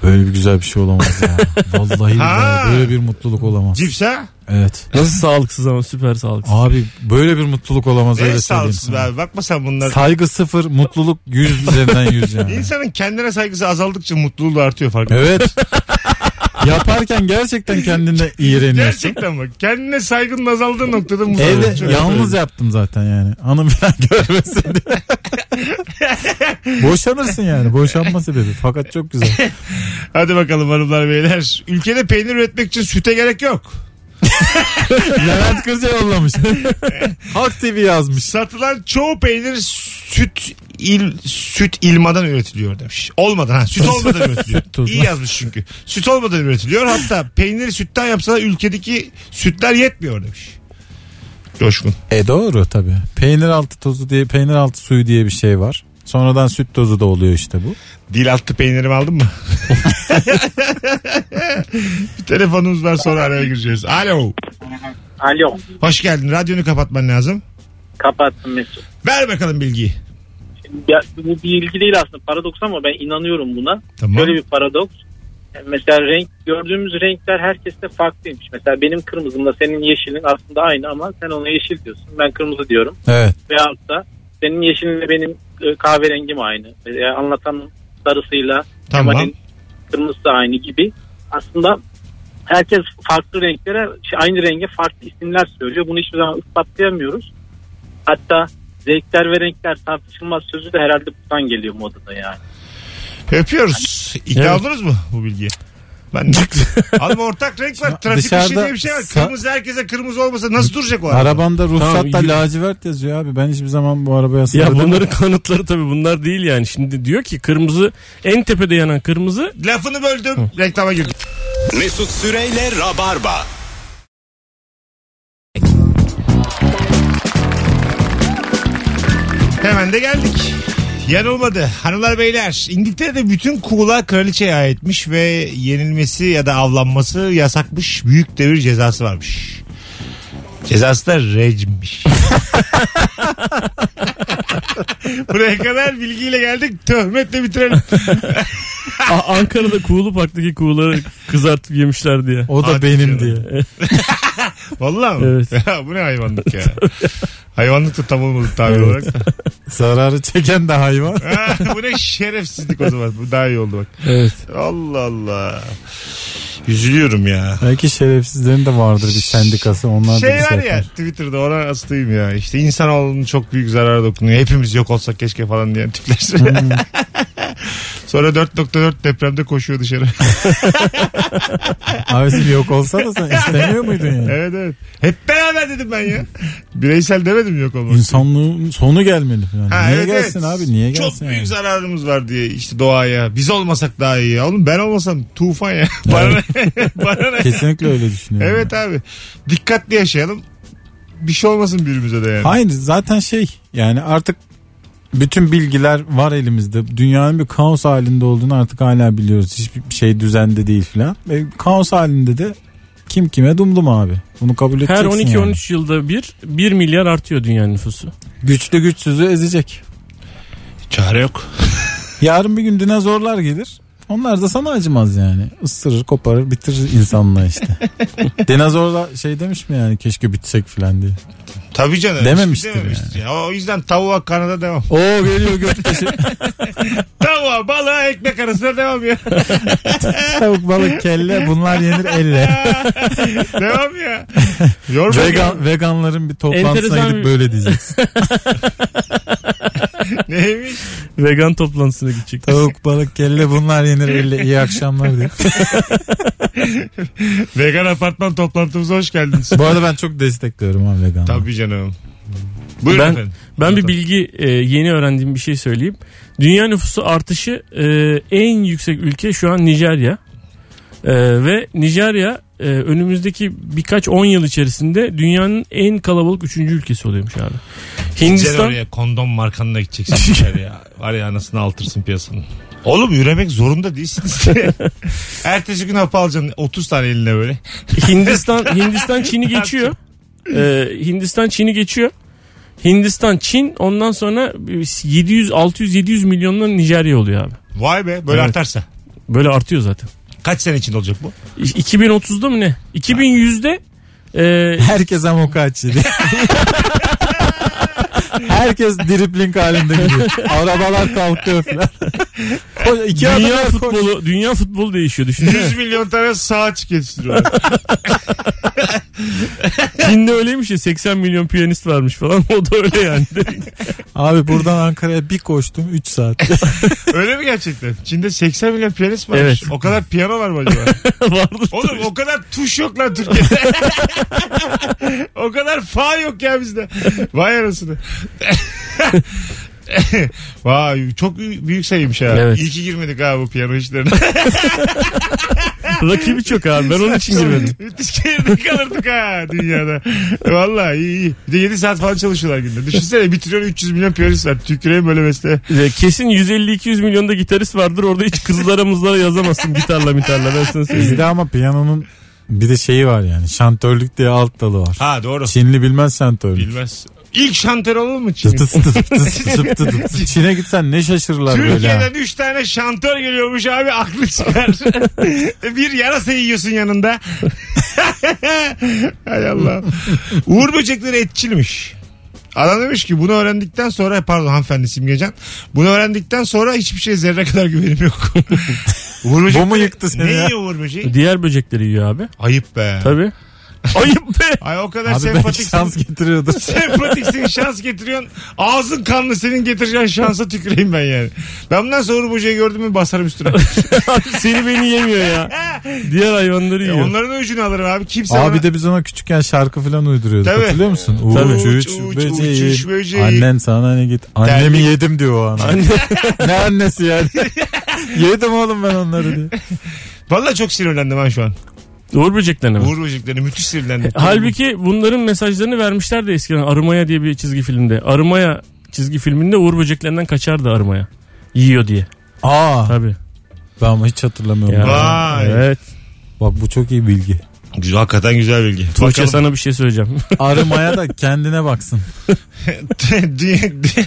Speaker 4: Böyle bir güzel bir şey olamaz ya. Vallahi
Speaker 2: Ha.
Speaker 4: billahi böyle bir mutluluk
Speaker 2: *laughs*
Speaker 4: olamaz.
Speaker 2: Cips ha?
Speaker 4: Evet.
Speaker 3: Nasıl sağlıksız ama süper sağlıksız.
Speaker 4: Abi böyle bir mutluluk olamaz
Speaker 2: Ne
Speaker 4: öyle söyleyeyim
Speaker 2: sağlıksız be
Speaker 4: sana.
Speaker 2: abi. Bakma sen bunlar.
Speaker 4: Saygı sıfır, mutluluk yüz üzerinden yüz yani.
Speaker 2: İnsanın kendine saygısı azaldıkça mutluluğu da artıyor farkında.
Speaker 4: Evet. Yaparken gerçekten kendine iğreniyorsun.
Speaker 2: Gerçekten bak. Kendine saygının azaldığı noktada mutluluk.
Speaker 4: Evde
Speaker 2: çok-
Speaker 4: yalnız yaptım zaten yani. Hanım falan *laughs* görmesin diye. Boşanırsın yani. Boşanma sebebi. Fakat çok güzel.
Speaker 2: Hadi bakalım hanımlar beyler. Ülkede peynir üretmek için süte gerek yok.
Speaker 4: Levent Kırca yollamış. *laughs* Halk TV yazmış.
Speaker 2: Satılan çoğu peynir süt il süt ilmadan üretiliyor demiş. Olmadan ha süt olmadan üretiliyor.
Speaker 4: Süt tozu.
Speaker 2: İyi yazmış çünkü. Süt olmadan üretiliyor. Hatta peyniri sütten yapsa ülkedeki sütler yetmiyor demiş. Coşkun.
Speaker 4: E doğru tabii. Peynir altı tozu diye peynir altı suyu diye bir şey var. Sonradan süt tozu da oluyor işte bu.
Speaker 2: Dil altı peynirimi aldın mı? *laughs* Bir telefonumuz var sonra araya gireceğiz. Alo.
Speaker 5: Alo.
Speaker 2: Hoş geldin. Radyonu kapatman lazım.
Speaker 5: Kapattım Mesut.
Speaker 2: Ver bakalım bilgiyi.
Speaker 5: Ya, bu bir ilgi değil aslında paradoks ama ben inanıyorum buna.
Speaker 2: Tamam.
Speaker 5: Şöyle bir paradoks. E, Mesela renk gördüğümüz renkler herkeste farklıymış. Mesela benim kırmızımla senin yeşilin aslında aynı ama sen ona yeşil diyorsun. Ben kırmızı diyorum.
Speaker 4: Evet.
Speaker 5: Veyahut da senin yeşilinle benim e, kahverengim aynı. Veya anlatan sarısıyla
Speaker 2: Tamam.
Speaker 5: Kemal'in kırmızısı da aynı gibi. Aslında herkes farklı renklere şey, aynı renge farklı isimler söylüyor. Bunu hiçbir zaman ispatlayamıyoruz. Hatta zevkler ve renkler tartışılmaz sözü de herhalde buradan geliyor modada yani.
Speaker 2: Öpüyoruz. İkna
Speaker 3: Evet.
Speaker 2: oldunuz mu bu bilgiye? Ben de. *laughs* Abi ortak renk var. Trafik işi
Speaker 4: dışarıda
Speaker 2: diye bir şey var.
Speaker 4: sa-
Speaker 2: Kırmızı herkese kırmızı olmasa nasıl duracak o araba?
Speaker 4: Arabanda ruhsatta
Speaker 3: Tamam, yürü.
Speaker 4: lacivert yazıyor abi. Ben hiçbir zaman bu arabaya
Speaker 3: Ya
Speaker 4: sarıldım.
Speaker 3: bunların kanıtları tabii bunlar değil yani. Şimdi diyor ki kırmızı en tepede yanan kırmızı
Speaker 2: Lafını böldüm. Reklama girdik.
Speaker 1: Mesut Süreyle Rabarba.
Speaker 2: Hemen de geldik. Yanılmadı. Hanımlar beyler İngiltere'de bütün kuğular kraliçeye aitmiş ve yenilmesi ya da avlanması yasakmış. Büyük devir cezası varmış. Cezası da
Speaker 4: *laughs*
Speaker 2: rejimmiş. *laughs* Buraya kadar bilgiyle geldik. Töhmetle bitirelim.
Speaker 3: A-
Speaker 2: *laughs*
Speaker 3: Ankara'da kuğulu parktaki kuğuları kızartıp yemişler diye.
Speaker 4: O da
Speaker 2: Hadi canım.
Speaker 4: benim diye.
Speaker 2: Vallahi mi?
Speaker 3: Evet.
Speaker 2: *laughs* Ya bu ne hayvanlık ya. hayvanlık da tam olmadı tabir
Speaker 4: Evet.
Speaker 2: olarak. *laughs* da.
Speaker 4: Zararı çeken de hayvan.
Speaker 2: Ha, bu ne şerefsizlik o zaman. Bu daha iyi oldu bak.
Speaker 4: evet.
Speaker 2: Allah Allah. Üzülüyorum ya.
Speaker 4: Belki şerefsizlerin de vardır bir sendikası. Onlar da
Speaker 2: şey
Speaker 4: bir şey
Speaker 2: var ya
Speaker 4: yapar.
Speaker 2: Twitter'da ona hastayım ya. İşte
Speaker 4: Hmm.
Speaker 2: insanoğlunun çok büyük zararı dokunuyor. Hepimiz yok olsak keşke falan diyen tipler. *laughs* Sonra 4.4 depremde koşuyor
Speaker 4: *laughs*
Speaker 2: dışarı.
Speaker 4: Abisim yok olsana sen
Speaker 2: *laughs*
Speaker 4: istemiyor muydun yani?
Speaker 2: evet evet. Hep beraber dedim ben ya. Bireysel demedim yok olmak.
Speaker 4: İnsanlığın sonu gelmeli falan.
Speaker 2: Ha,
Speaker 4: niye
Speaker 2: evet,
Speaker 4: gelsin
Speaker 2: evet.
Speaker 4: abi niye gelsin?
Speaker 2: Çok
Speaker 4: yani?
Speaker 2: büyük zararımız var diye işte doğaya. Biz olmasak daha iyi ya. Oğlum ben olmasam tufan ya. *laughs* Bana ne? *laughs* Bana ne?
Speaker 4: Kesinlikle öyle düşünüyorum.
Speaker 2: Evet abi. Dikkatli yaşayalım. Bir şey olmasın birbirimize de yani.
Speaker 4: Hayır zaten şey yani artık bütün bilgiler var elimizde. Dünyanın bir kaos halinde olduğunu artık hala biliyoruz. Hiçbir şey düzende değil filan. Ve kaos halinde de kim kime dumdum abi. Bunu kabul
Speaker 3: Her
Speaker 4: edeceksin yani.
Speaker 3: 12-13 yılda bir 1 milyar artıyor dünya nüfusu.
Speaker 4: Güçlü güçsüzü ezecek.
Speaker 2: Çare yok.
Speaker 4: Yarın bir gün dinozorlar gelir. Onlar da sana acımaz yani. Isırır, koparır, bitirir insanlığı *laughs* işte. dinozorlar şey demiş mi yani keşke bitsek filan diye.
Speaker 2: Tabii canım.
Speaker 4: Dememiştir
Speaker 2: Ya. O yüzden tavuğa kanada
Speaker 4: *laughs*
Speaker 2: devam.
Speaker 4: Oo geliyor göktaşı.
Speaker 2: tavuğa balığa ekmek arasına devam
Speaker 4: *laughs*
Speaker 2: ya.
Speaker 4: *laughs* Tavuk, balık, kelle bunlar yenir elle.
Speaker 2: devam ya.
Speaker 4: *laughs*
Speaker 2: Yorma.
Speaker 4: Vegan, veganların bir toplantısına
Speaker 3: Enteresan
Speaker 4: gidip
Speaker 3: bir-
Speaker 4: böyle diyeceksin.
Speaker 2: Neymiş?
Speaker 3: Vegan toplantısına
Speaker 4: *laughs*
Speaker 3: gidecek.
Speaker 4: Tavuk, balık, kelle bunlar yenir elle. İyi akşamlar diyor.
Speaker 2: Vegan apartman toplantımıza hoş
Speaker 4: *laughs*
Speaker 2: geldiniz.
Speaker 4: *laughs* Bu arada ben çok destekliyorum ha veganları.
Speaker 2: Tabii canım. Buyurun
Speaker 3: Ben-
Speaker 2: efendim.
Speaker 3: Ben bir
Speaker 2: Anlatalım.
Speaker 3: bilgi e, yeni öğrendiğim bir şey söyleyeyim. Dünya nüfusu artışı e, en yüksek ülke şu an Nijerya. E, ve Nijerya e, önümüzdeki birkaç 10 yıl içerisinde dünyanın en kalabalık 3. ülkesi oluyormuş abi.
Speaker 2: Gideceksin
Speaker 3: Hindistan
Speaker 2: oraya kondom markanına gideceksin bir kere *laughs* ya. Var ya anasını altırsın piyasanın. Oğlum üremek zorunda değilsiniz. *laughs* Ertesi gün hapı alacaksın 30 tane eline böyle.
Speaker 3: Hindistan Hindistan Çin'i geçiyor. E, Hindistan Çin'i geçiyor. Hindistan Çin ondan sonra 700 600 700 milyonla Nijerya oluyor abi.
Speaker 2: Vay be böyle
Speaker 3: Evet.
Speaker 2: artarsa.
Speaker 3: Böyle artıyor zaten.
Speaker 2: Kaç sene içinde olacak *laughs* bu?
Speaker 3: 2030'da mı ne? 2100'de *laughs* e,
Speaker 4: Herkes amokaçi diye. *laughs* Herkes dripling halinde gidiyor. Arabalar kalkıyor falan. Koş, iki
Speaker 3: Dünya
Speaker 4: adamlar koş.
Speaker 3: futbolu, dünya futbolu değişiyor düşünsene.
Speaker 2: 100 milyon tane sağ açık yetiştiriyorlar. *laughs*
Speaker 3: Çin'de öyleymiş ya 80 milyon piyanist varmış falan. *laughs* O da öyle yani.
Speaker 4: Abi buradan Ankara'ya bir koştum 3 saat. *laughs*
Speaker 2: Öyle mi gerçekten? Çin'de 80 milyon piyanist varmış.
Speaker 3: Evet.
Speaker 2: O kadar piyano var mı acaba?
Speaker 3: Vardır.
Speaker 2: Oğlum o kadar tuş yok lan
Speaker 3: *laughs*
Speaker 2: Türkiye'de. o kadar fa yok ya bizde. Vay
Speaker 3: *laughs*
Speaker 2: arasını. Vay çok büyük büyük sayıymış ha.
Speaker 3: Evet.
Speaker 2: İyi ki girmedik ha bu piyano işlerine.
Speaker 3: Rakibi çok abi. Ben onun için girmedim.
Speaker 2: *laughs* Müthiş geride kalırdık ha dünyada. Vallahi iyi iyi. Bir de 7 saat falan çalışıyorlar günde. Düşünsene bir trilyon 300 milyon piyanist var. Tüküreyim böyle mesleğe.
Speaker 3: Ee, Kesin 150-200 milyonda gitarist vardır. Orada hiç kızlara mızlara yazamazsın gitarla mitarla. Ben sana söyleyeyim.
Speaker 4: Bizde ama piyanonun bir de şeyi var yani. Şantörlük diye alt dalı var.
Speaker 2: Ha doğru.
Speaker 4: Çinli bilmez şantörlük.
Speaker 2: Bilmez. İlk şantör olur mu Çin?
Speaker 4: Tıt tıt tıt tıt tıt tıt tıt. Çin'e gitsen ne şaşırırlar böyle. ha.
Speaker 2: Türkiye'den 3 tane şantör geliyormuş abi aklı
Speaker 4: *laughs*
Speaker 2: çıkar. bir yarasa yiyorsun yanında. *laughs* Hay Allah. Uğur böcekleri etçilmiş. Adam demiş ki bunu öğrendikten sonra pardon hanımefendi Simgecan. Bunu öğrendikten sonra hiçbir şeye zerre kadar güvenim yok. *laughs* Uğur böcekleri,
Speaker 4: Bu mu yıktı seni
Speaker 2: Ne
Speaker 4: ya?
Speaker 2: yiyor Uğur böceği?
Speaker 3: *laughs* Diğer böcekleri yiyor abi.
Speaker 2: Ayıp be.
Speaker 3: Tabii. Ayıp be.
Speaker 2: Ay o kadar
Speaker 4: Abi belki
Speaker 2: sempatiksin.
Speaker 4: şans getiriyordur.
Speaker 2: *laughs* Sempatiksin şans getiriyorsun. Ağzın kanlı senin getireceğin şansa tüküreyim ben yani. Ben bundan sonra Uğur böceği gördüm mü basarım
Speaker 4: *laughs*
Speaker 2: üstüne.
Speaker 3: *laughs* Abi Seni beni yemiyor ya. Diğer hayvanları
Speaker 2: E,
Speaker 3: yiyor.
Speaker 2: onların öcünü alırım abi. Kimse bana-
Speaker 4: Abi de biz ona küçükken şarkı falan uyduruyorduk.
Speaker 2: Tabii.
Speaker 4: Hatırlıyor musun?
Speaker 3: Tabii.
Speaker 4: Uç uç,
Speaker 2: Uç, uç,
Speaker 4: böceği.
Speaker 2: uçuş böceği.
Speaker 4: Annen sana ne git. Annemi
Speaker 2: Terlik.
Speaker 4: yedim diyor
Speaker 2: *laughs*
Speaker 4: o ana. ne annesi yani? *laughs* yedim oğlum ben onları diyor.
Speaker 2: Valla çok sinirlendim ben şu an.
Speaker 3: Uğur böceklerine mi?
Speaker 2: Uğur böceklerine müthiş
Speaker 4: E,
Speaker 2: sinirlendim.
Speaker 3: *laughs* Halbuki bunların mesajlarını vermişler de eskiden Arımaya diye bir çizgi filmde. Arımaya çizgi filminde Uğur böceklerinden kaçardı Arımaya. Yiyor diye.
Speaker 4: Aa
Speaker 3: Tabii.
Speaker 4: ben ama hiç hatırlamıyorum.
Speaker 3: Ya.
Speaker 2: Vay.
Speaker 3: Evet.
Speaker 4: Bak bu çok iyi bilgi.
Speaker 2: Güzel, hakikaten güzel bilgi. *laughs*
Speaker 3: Tuğçe sana bir şey söyleyeceğim.
Speaker 4: Arımaya da kendine baksın.
Speaker 2: Dü- dü-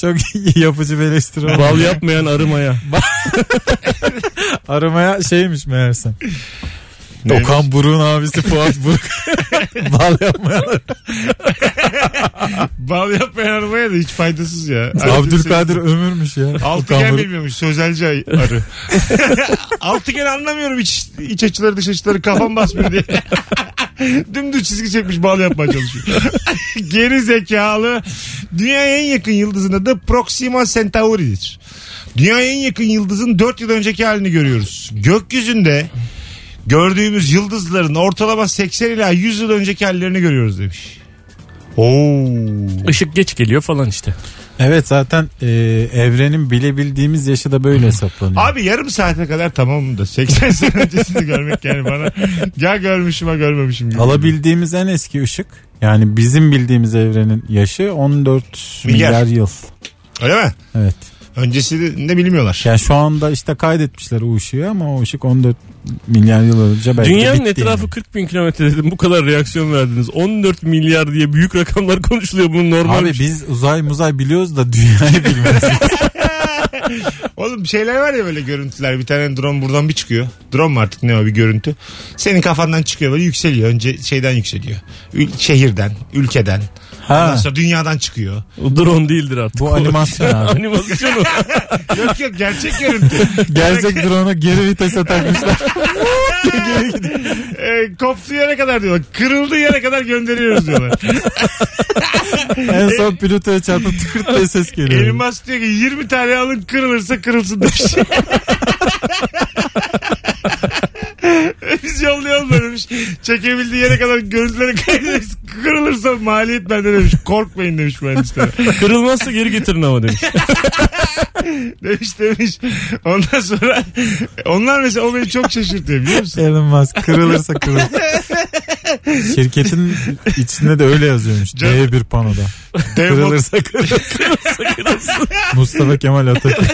Speaker 4: Çok iyi yapıcı bir eleştiri oldu.
Speaker 3: Bal yapmayan arımaya.
Speaker 4: Arımaya şeymiş meğersem.
Speaker 2: Neymiş?
Speaker 4: Okan Buruk'un abisi Fuat
Speaker 2: *laughs*
Speaker 4: Buruk. Bal yapmayanlar.
Speaker 2: Bal yapmayan arabaya da hiç faydasız ya.
Speaker 4: Abdülkadir Ömür'müş ya. Okan
Speaker 2: Altıgen
Speaker 4: Buruk.
Speaker 2: bilmiyormuş. Sözelci ay- arı. Altıgen anlamıyorum iç, iç açıları dış açıları kafam basmıyor diye. *laughs* Dümdüz çizgi çekmiş bal yapmaya çalışıyor. *laughs* Geri zekalı. Dünyaya en yakın yıldızında da Proxima Centauri'dir. Dünyaya en yakın yıldızın 4 yıl önceki halini görüyoruz. Gökyüzünde gördüğümüz yıldızların ortalama 80 ila 100 yıl önceki hallerini görüyoruz demiş. Oo.
Speaker 3: Işık geç geliyor falan işte.
Speaker 4: Evet zaten e, evrenin bilebildiğimiz yaşı da böyle hesaplanıyor.
Speaker 2: Abi yarım saate kadar tamamım da 80 *laughs* sene öncesini görmek yani bana ya görmüşüm ha görmemişim gibi.
Speaker 4: Alabildiğimiz en eski ışık yani bizim bildiğimiz evrenin yaşı 14
Speaker 2: Milyar.
Speaker 4: milyar, yıl.
Speaker 2: Öyle mi?
Speaker 4: Evet.
Speaker 2: Öncesini de bilmiyorlar.
Speaker 4: Yani şu anda işte kaydetmişler o ışığı ama o ışık 14 milyar yıl önce belki
Speaker 3: Dünyanın
Speaker 4: bitti
Speaker 3: etrafı
Speaker 4: yani.
Speaker 3: 40 bin kilometre dedim. Bu kadar reaksiyon verdiniz. 14 milyar diye büyük rakamlar konuşuluyor. Bu normal. şey.
Speaker 4: Abi biz uzay muzay biliyoruz da
Speaker 2: *laughs*
Speaker 4: dünyayı bilmiyoruz.
Speaker 2: Oğlum şeyler var ya böyle görüntüler. Bir tane drone buradan bir çıkıyor. Drone mu artık ne o bir görüntü. Senin kafandan çıkıyor böyle yükseliyor. Önce şeyden yükseliyor. Ül- şehirden, ülkeden. Ondan
Speaker 4: ha,
Speaker 2: sonra dünyadan çıkıyor.
Speaker 3: O drone değildir artık.
Speaker 4: bu
Speaker 3: *laughs* O-
Speaker 4: animasyon abi.
Speaker 3: Animasyon o.
Speaker 2: Yok yok gerçek görüntü.
Speaker 4: Gerçek drone'a geri vitese takmışlar.
Speaker 2: Ee, koptuğu yere kadar diyorlar. Kırıldığı yere kadar gönderiyoruz diyorlar.
Speaker 4: en son Plüto'ya çarpıp tıkırt diye ses geliyor.
Speaker 2: Elmas diyor ki 20 tane alın kırılırsa kırılsın demiş. *laughs* Biz yollayalım demiş. Çekebildiği yere kadar görüntüleri kaydederiz. Kırılırsa maliyet bende demiş. Korkmayın demiş mühendislere.
Speaker 3: Kırılmazsa geri getirin ama demiş.
Speaker 2: Demiş demiş. Ondan sonra onlar mesela o beni çok şaşırtıyor biliyor musun?
Speaker 4: Elon Musk kırılırsa kırılır. Şirketin içinde de öyle yazıyormuş.
Speaker 2: Can-
Speaker 4: D1 panoda.
Speaker 2: Dev
Speaker 4: Kırılırsa kırılır. Mustafa Kemal Atatürk.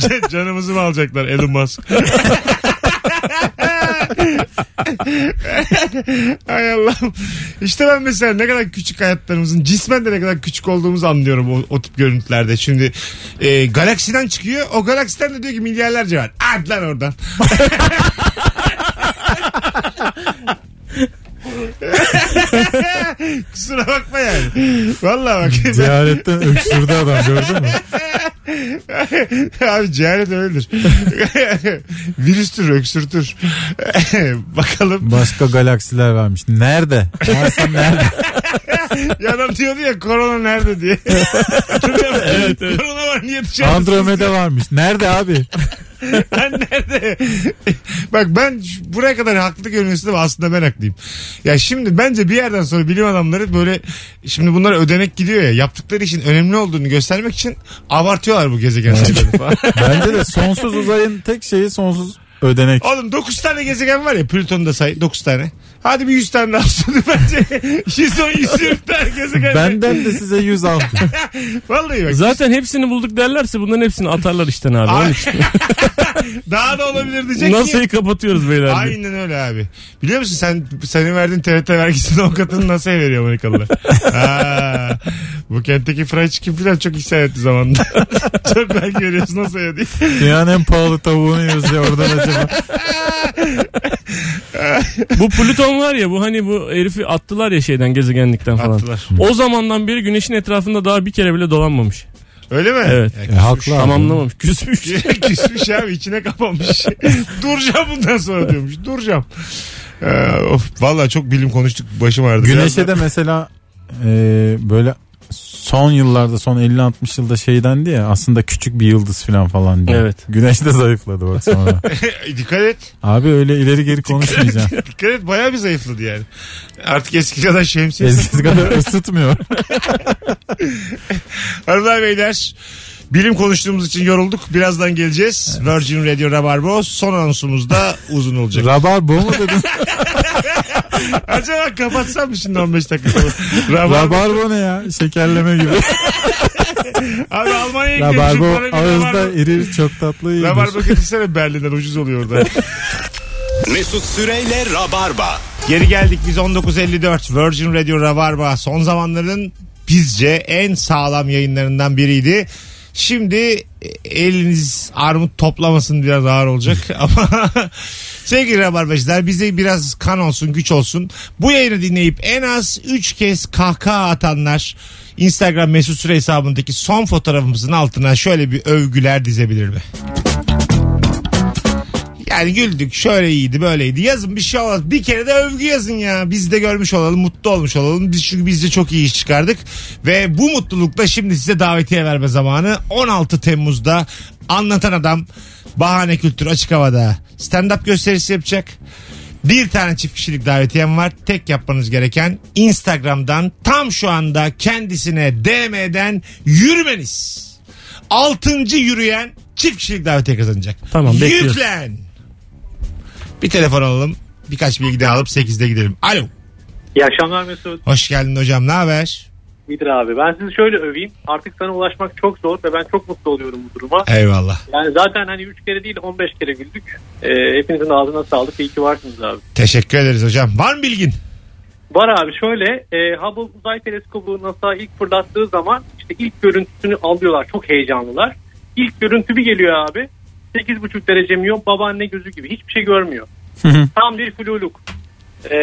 Speaker 2: Can- *laughs* Canımızı mı alacaklar Elon Musk? *laughs* Ay Allah'ım. İşte ben mesela ne kadar küçük hayatlarımızın cismen de ne kadar küçük olduğumuzu anlıyorum o, o tip görüntülerde. Şimdi e, galaksiden çıkıyor. O galaksiden de diyor ki milyarlarca var. At lan oradan. *laughs* Kusura bakma yani. Vallahi bak. ben-
Speaker 4: Ziyaretten öksürdü adam gördün mü?
Speaker 2: *laughs* Abi cehalet öyledir. *laughs* Virüstür, öksürtür. *laughs* Bakalım.
Speaker 4: Başka galaksiler varmış. Nerede? Varsa nerede?
Speaker 2: Ya adam diyordu ya korona nerede diye. Hatırlıyor musun? Korona var niye dışarı?
Speaker 4: Andromeda varmış. Nerede abi?
Speaker 2: *laughs* Ben nerede? Bak ben şu- buraya kadar haklı görünüyorsun ama aslında ben haklıyım. Ya şimdi bence bir yerden sonra bilim adamları böyle şimdi bunlara ödenek gidiyor ya yaptıkları işin önemli olduğunu göstermek için abartıyorlar bu gezegen sayılarını *laughs* falan.
Speaker 4: Bence de sonsuz uzayın tek şeyi sonsuz ödenek.
Speaker 2: Oğlum 9 tane gezegen var ya Plüton'u da say 9 tane. Hadi bir 100 tane daha olsun *laughs* bence. 110 120 tane gezegen.
Speaker 4: Benden de size 100 aldı.
Speaker 2: Vallahi bak.
Speaker 3: Zaten hepsini bulduk derlerse bunların hepsini atarlar işten abi. Hani
Speaker 2: Ay-
Speaker 3: Onun
Speaker 2: *laughs* Daha da olabilir
Speaker 3: için
Speaker 2: diyecek ki.
Speaker 3: NASA'yı kapatıyoruz beyler. diye.
Speaker 2: Aynen öyle abi. Biliyor musun sen senin verdiğin TRT vergisinin *laughs* o katını nasıl veriyor
Speaker 3: *laughs*
Speaker 2: Amerikalılar? Aa, bu kentteki fried chicken falan çok isyan etti zamanında. *laughs* çok belki veriyorsun nasıl ödedi.
Speaker 4: Dünyanın en pahalı tavuğunu yiyoruz ya oradan acaba.
Speaker 3: Bu Plüton var ya bu hani bu herifi attılar ya şeyden gezegenlikten falan.
Speaker 2: Attılar.
Speaker 3: O zamandan beri güneşin etrafında daha bir kere bile dolanmamış.
Speaker 2: Öyle mi?
Speaker 3: Evet.
Speaker 2: Ya
Speaker 4: E, haklı abi.
Speaker 3: Tamamlamamış. Küsmüş.
Speaker 2: küs- *laughs* Küsmüş abi içine kapanmış. *laughs* Duracağım bundan sonra diyormuş. Duracağım. Ee, of, vallahi çok bilim konuştuk. Başım ağrıdı.
Speaker 4: Güneşe
Speaker 2: Biraz da-
Speaker 4: de mesela e, böyle son yıllarda son 50-60 yılda şey dendi ya aslında küçük bir yıldız falan falan diye.
Speaker 3: Evet.
Speaker 4: Güneş de zayıfladı
Speaker 2: *laughs*
Speaker 4: bak sonra.
Speaker 2: dikkat et.
Speaker 4: Abi öyle ileri geri konuşmayacağım.
Speaker 2: Dikkat et bayağı bir zayıfladı yani. Artık eski kadar şemsiye.
Speaker 4: Eskisi kadar
Speaker 2: *laughs*
Speaker 4: ısıtmıyor.
Speaker 2: Hanımlar beyler bilim konuştuğumuz için yorulduk. Birazdan geleceğiz. Virgin Radio Rabarbo son anonsumuz da uzun olacak.
Speaker 4: Rabar bu mu
Speaker 2: *laughs*
Speaker 4: dedin?
Speaker 2: Acaba kapatsam mı şimdi 15 dakika? Rabarbo.
Speaker 4: Rabarbo ne ya? Şekerleme
Speaker 2: *laughs*
Speaker 4: gibi.
Speaker 2: Abi Almanya'ya gidiyorum. Şu
Speaker 4: Rabarbo
Speaker 2: para bir
Speaker 4: ağızda
Speaker 2: Rabarbo.
Speaker 4: erir çok tatlı yenir.
Speaker 2: Rabarbo getirsene Berlin'den ucuz oluyor orada.
Speaker 1: Mesut Süreyle Rabarba.
Speaker 2: Geri geldik biz 1954 Virgin Radio Rabarba son zamanların bizce en sağlam yayınlarından biriydi. Şimdi eliniz armut toplamasın biraz ağır olacak ama *laughs* sevgili Rabarbacılar bize biraz kan olsun güç olsun. Bu yayını dinleyip en az 3 kez kahkaha atanlar Instagram mesut süre hesabındaki son fotoğrafımızın altına şöyle bir övgüler dizebilir mi? Yani güldük şöyle iyiydi böyleydi yazın bir şey olmaz. Bir kere de övgü yazın ya. Biz de görmüş olalım mutlu olmuş olalım. Biz çünkü biz de çok iyi iş çıkardık. Ve bu mutlulukla şimdi size davetiye verme zamanı 16 Temmuz'da Anlatan adam bahane kültür açık havada stand-up gösterisi yapacak. Bir tane çift kişilik davetiyem var. Tek yapmanız gereken Instagram'dan tam şu anda kendisine DM'den yürümeniz. Altıncı yürüyen çift kişilik davetiye kazanacak.
Speaker 3: Tamam, bekliyoruz.
Speaker 2: Yüklen. Bir telefon alalım. Birkaç bilgi daha alıp 8'de gidelim. Alo.
Speaker 5: İyi akşamlar Mesut.
Speaker 2: Hoş geldin hocam. Ne haber?
Speaker 5: İyidir abi. Ben sizi şöyle öveyim. Artık sana ulaşmak çok zor ve ben çok mutlu oluyorum bu duruma.
Speaker 2: Eyvallah.
Speaker 5: Yani zaten hani 3 kere değil 15 kere güldük. Ee, hepinizin ağzına sağlık. İyi ki varsınız abi.
Speaker 2: Teşekkür ederiz hocam. Var mı bilgin?
Speaker 5: Var abi şöyle e, Hubble Uzay Teleskobu NASA ilk fırlattığı zaman işte ilk görüntüsünü alıyorlar. Çok heyecanlılar. İlk görüntü bir geliyor abi. 8,5 derece miyop babaanne gözü gibi. Hiçbir şey görmüyor. Tam bir fluluk. E,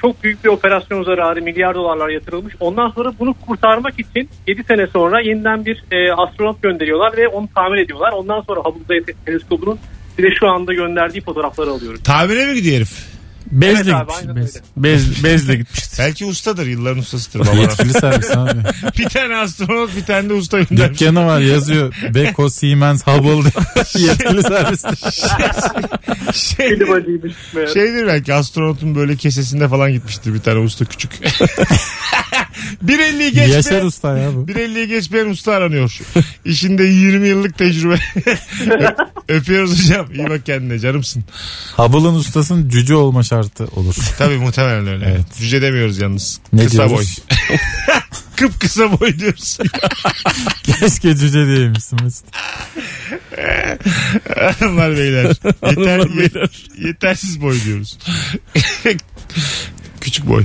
Speaker 5: çok büyük bir operasyon zararı milyar dolarlar yatırılmış. Ondan sonra bunu kurtarmak için 7 sene sonra yeniden bir e, astronot gönderiyorlar ve onu tamir ediyorlar. Ondan sonra Hubble Uzay Teleskobu'nun size şu anda gönderdiği fotoğrafları alıyoruz.
Speaker 2: Tamire mi gidiyor herif?
Speaker 3: *laughs* Bezle
Speaker 5: Evet abi,
Speaker 3: gitmiş.
Speaker 5: aynen
Speaker 3: Bez,
Speaker 5: öyle.
Speaker 3: bez, bezle gitmiştir.
Speaker 2: Belki ustadır. Yılların
Speaker 3: *laughs*
Speaker 2: ustasıdır baba.
Speaker 4: Yetkili
Speaker 2: *laughs*
Speaker 4: servis abi.
Speaker 2: bir tane astronot bir tane de usta göndermiş.
Speaker 4: Dükkanı var yazıyor. Beko Siemens Hubble.
Speaker 2: *laughs*
Speaker 4: *laughs* Yetkili servis.
Speaker 2: Şeydir, şeydir belki astronotun böyle kesesinde falan gitmiştir bir tane usta
Speaker 4: *laughs*
Speaker 2: küçük. 1.50'yi geçti.
Speaker 4: Yaşar Usta ya bu.
Speaker 2: 1.50'ye geçmeyen usta aranıyor. İşinde 20 yıllık tecrübe. *laughs* Ö- Öpüyoruz hocam. İyi bak kendine canımsın.
Speaker 4: Hubble'ın ustasının cüce olma şartı olur.
Speaker 2: Tabii muhtemelen öyle.
Speaker 4: Evet.
Speaker 2: Cüce demiyoruz yalnız.
Speaker 4: Ne
Speaker 2: kısa
Speaker 4: diyoruz?
Speaker 2: boy. Kıpkısa boy diyoruz.
Speaker 4: Keşke cüce diyeymişsin Mesut.
Speaker 2: Hanımlar
Speaker 4: *laughs*
Speaker 2: beyler. Yeter,
Speaker 3: Hanımlar, beyler.
Speaker 2: Yetersiz boy diyoruz. *laughs* Küçük boy.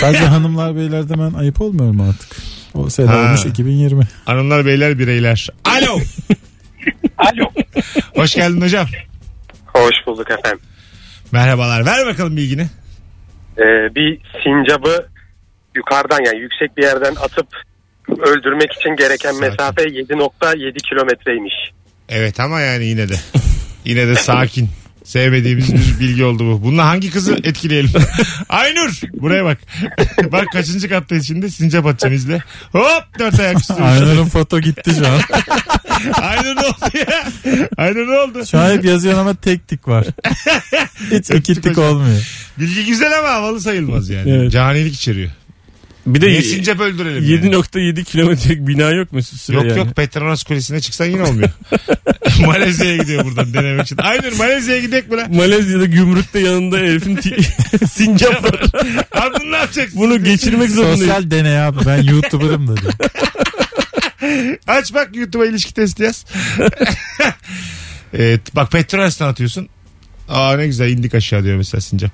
Speaker 4: Sadece hanımlar beyler demen ayıp olmuyor mu artık? O sene
Speaker 2: Ha.
Speaker 4: olmuş *laughs* 2020.
Speaker 2: Hanımlar beyler bireyler. Alo.
Speaker 6: Alo.
Speaker 2: Hoş geldin hocam.
Speaker 6: Hoş bulduk efendim.
Speaker 2: Merhabalar. Ver bakalım bilgini.
Speaker 6: Ee, bir sincabı yukarıdan yani yüksek bir yerden atıp öldürmek için gereken mesafe 7.7 kilometreymiş.
Speaker 2: Evet ama yani yine de. Yine de sakin. Sevmediğimiz bir bilgi oldu bu. Bununla hangi kızı etkileyelim? *laughs* Aynur buraya bak. *laughs* bak kaçıncı kattayız şimdi? Sincap atacağım izle. Hop dört ayak üstü.
Speaker 4: Aynur'un foto gitti şu an.
Speaker 2: Aynur ne oldu ya? Aynur ne oldu?
Speaker 4: Şu an hep yazıyor ama tek tik
Speaker 3: *laughs*
Speaker 4: var. Hiç iki tik olmuyor.
Speaker 2: Bilgi güzel ama havalı sayılmaz yani.
Speaker 3: Evet.
Speaker 2: Canilik içeriyor.
Speaker 3: Bir de
Speaker 2: Niye sincap öldürelim? yani?
Speaker 3: 7.7 kilometrelik bina yok mu süre
Speaker 2: Yok
Speaker 3: yani?
Speaker 2: yok Petronas Kulesi'ne çıksan yine olmuyor. *laughs* Malezya'ya gidiyor buradan denemek için. Aynur Malezya'ya gidek
Speaker 3: *laughs*
Speaker 2: mi lan?
Speaker 3: Malezya'da gümrükte yanında herifin ti- sincap var.
Speaker 2: Abi bunu ne yapacaksın?
Speaker 3: Bunu geçirmek zorundayız.
Speaker 4: Sosyal deney abi ben YouTuber'ım dedi.
Speaker 2: Aç bak YouTube'a ilişki testi yaz. evet, bak Petronas'tan atıyorsun. Aa ne güzel indik aşağı diyor mesela sincap.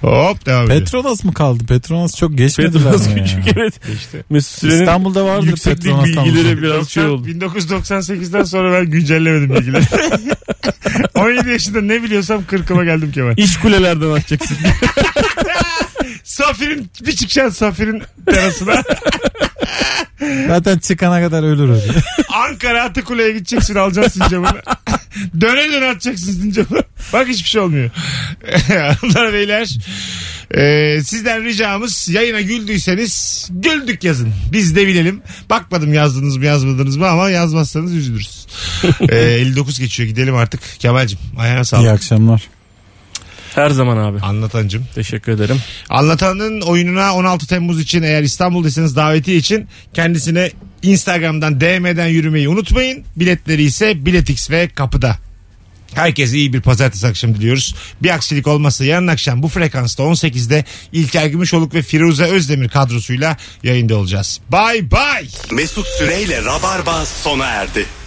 Speaker 2: Hop devam ediyor.
Speaker 4: Petronas mı kaldı? Petronas çok geçmediler
Speaker 3: Petronas
Speaker 4: mi ya?
Speaker 3: küçük evet.
Speaker 2: İşte.
Speaker 3: Mesut Süren'in
Speaker 4: İstanbul'da vardı
Speaker 3: yükseklik
Speaker 4: Petronas
Speaker 3: bilgileri biraz şey oldu.
Speaker 2: 1998'den sonra ben güncellemedim bilgileri. 17 yaşında ne biliyorsam 40'ıma geldim Kemal.
Speaker 3: İş kulelerden atacaksın.
Speaker 2: Safir'in bir çıkacaksın Safir'in terasına.
Speaker 4: Zaten çıkana kadar ölürüz.
Speaker 2: Ankara Atakule'ye gideceksin alacaksın
Speaker 4: *laughs*
Speaker 2: sincabını. döne döne atacaksın sincabı. Bak hiçbir şey olmuyor. *laughs* Hanımlar beyler. e, sizden ricamız yayına güldüyseniz güldük yazın. Biz de bilelim. Bakmadım yazdınız mı yazmadınız mı ama yazmazsanız
Speaker 4: *laughs*
Speaker 2: üzülürüz. E, 59 geçiyor gidelim artık. Kemal'cim ayağına
Speaker 4: İyi
Speaker 2: sağlık.
Speaker 4: akşamlar.
Speaker 3: Her zaman abi.
Speaker 2: Anlatancım.
Speaker 3: Teşekkür ederim.
Speaker 2: Anlatanın oyununa 16 Temmuz için eğer İstanbul'daysanız daveti için kendisine Instagram'dan DM'den yürümeyi unutmayın. Biletleri ise Biletix ve kapıda. Herkese iyi bir pazartesi akşamı diliyoruz. Bir aksilik olmazsa yarın akşam bu frekansta 18'de İlker Gümüşoluk ve Firuze Özdemir kadrosuyla yayında olacağız. Bay bay.
Speaker 1: Mesut Süreyle Rabarba sona erdi.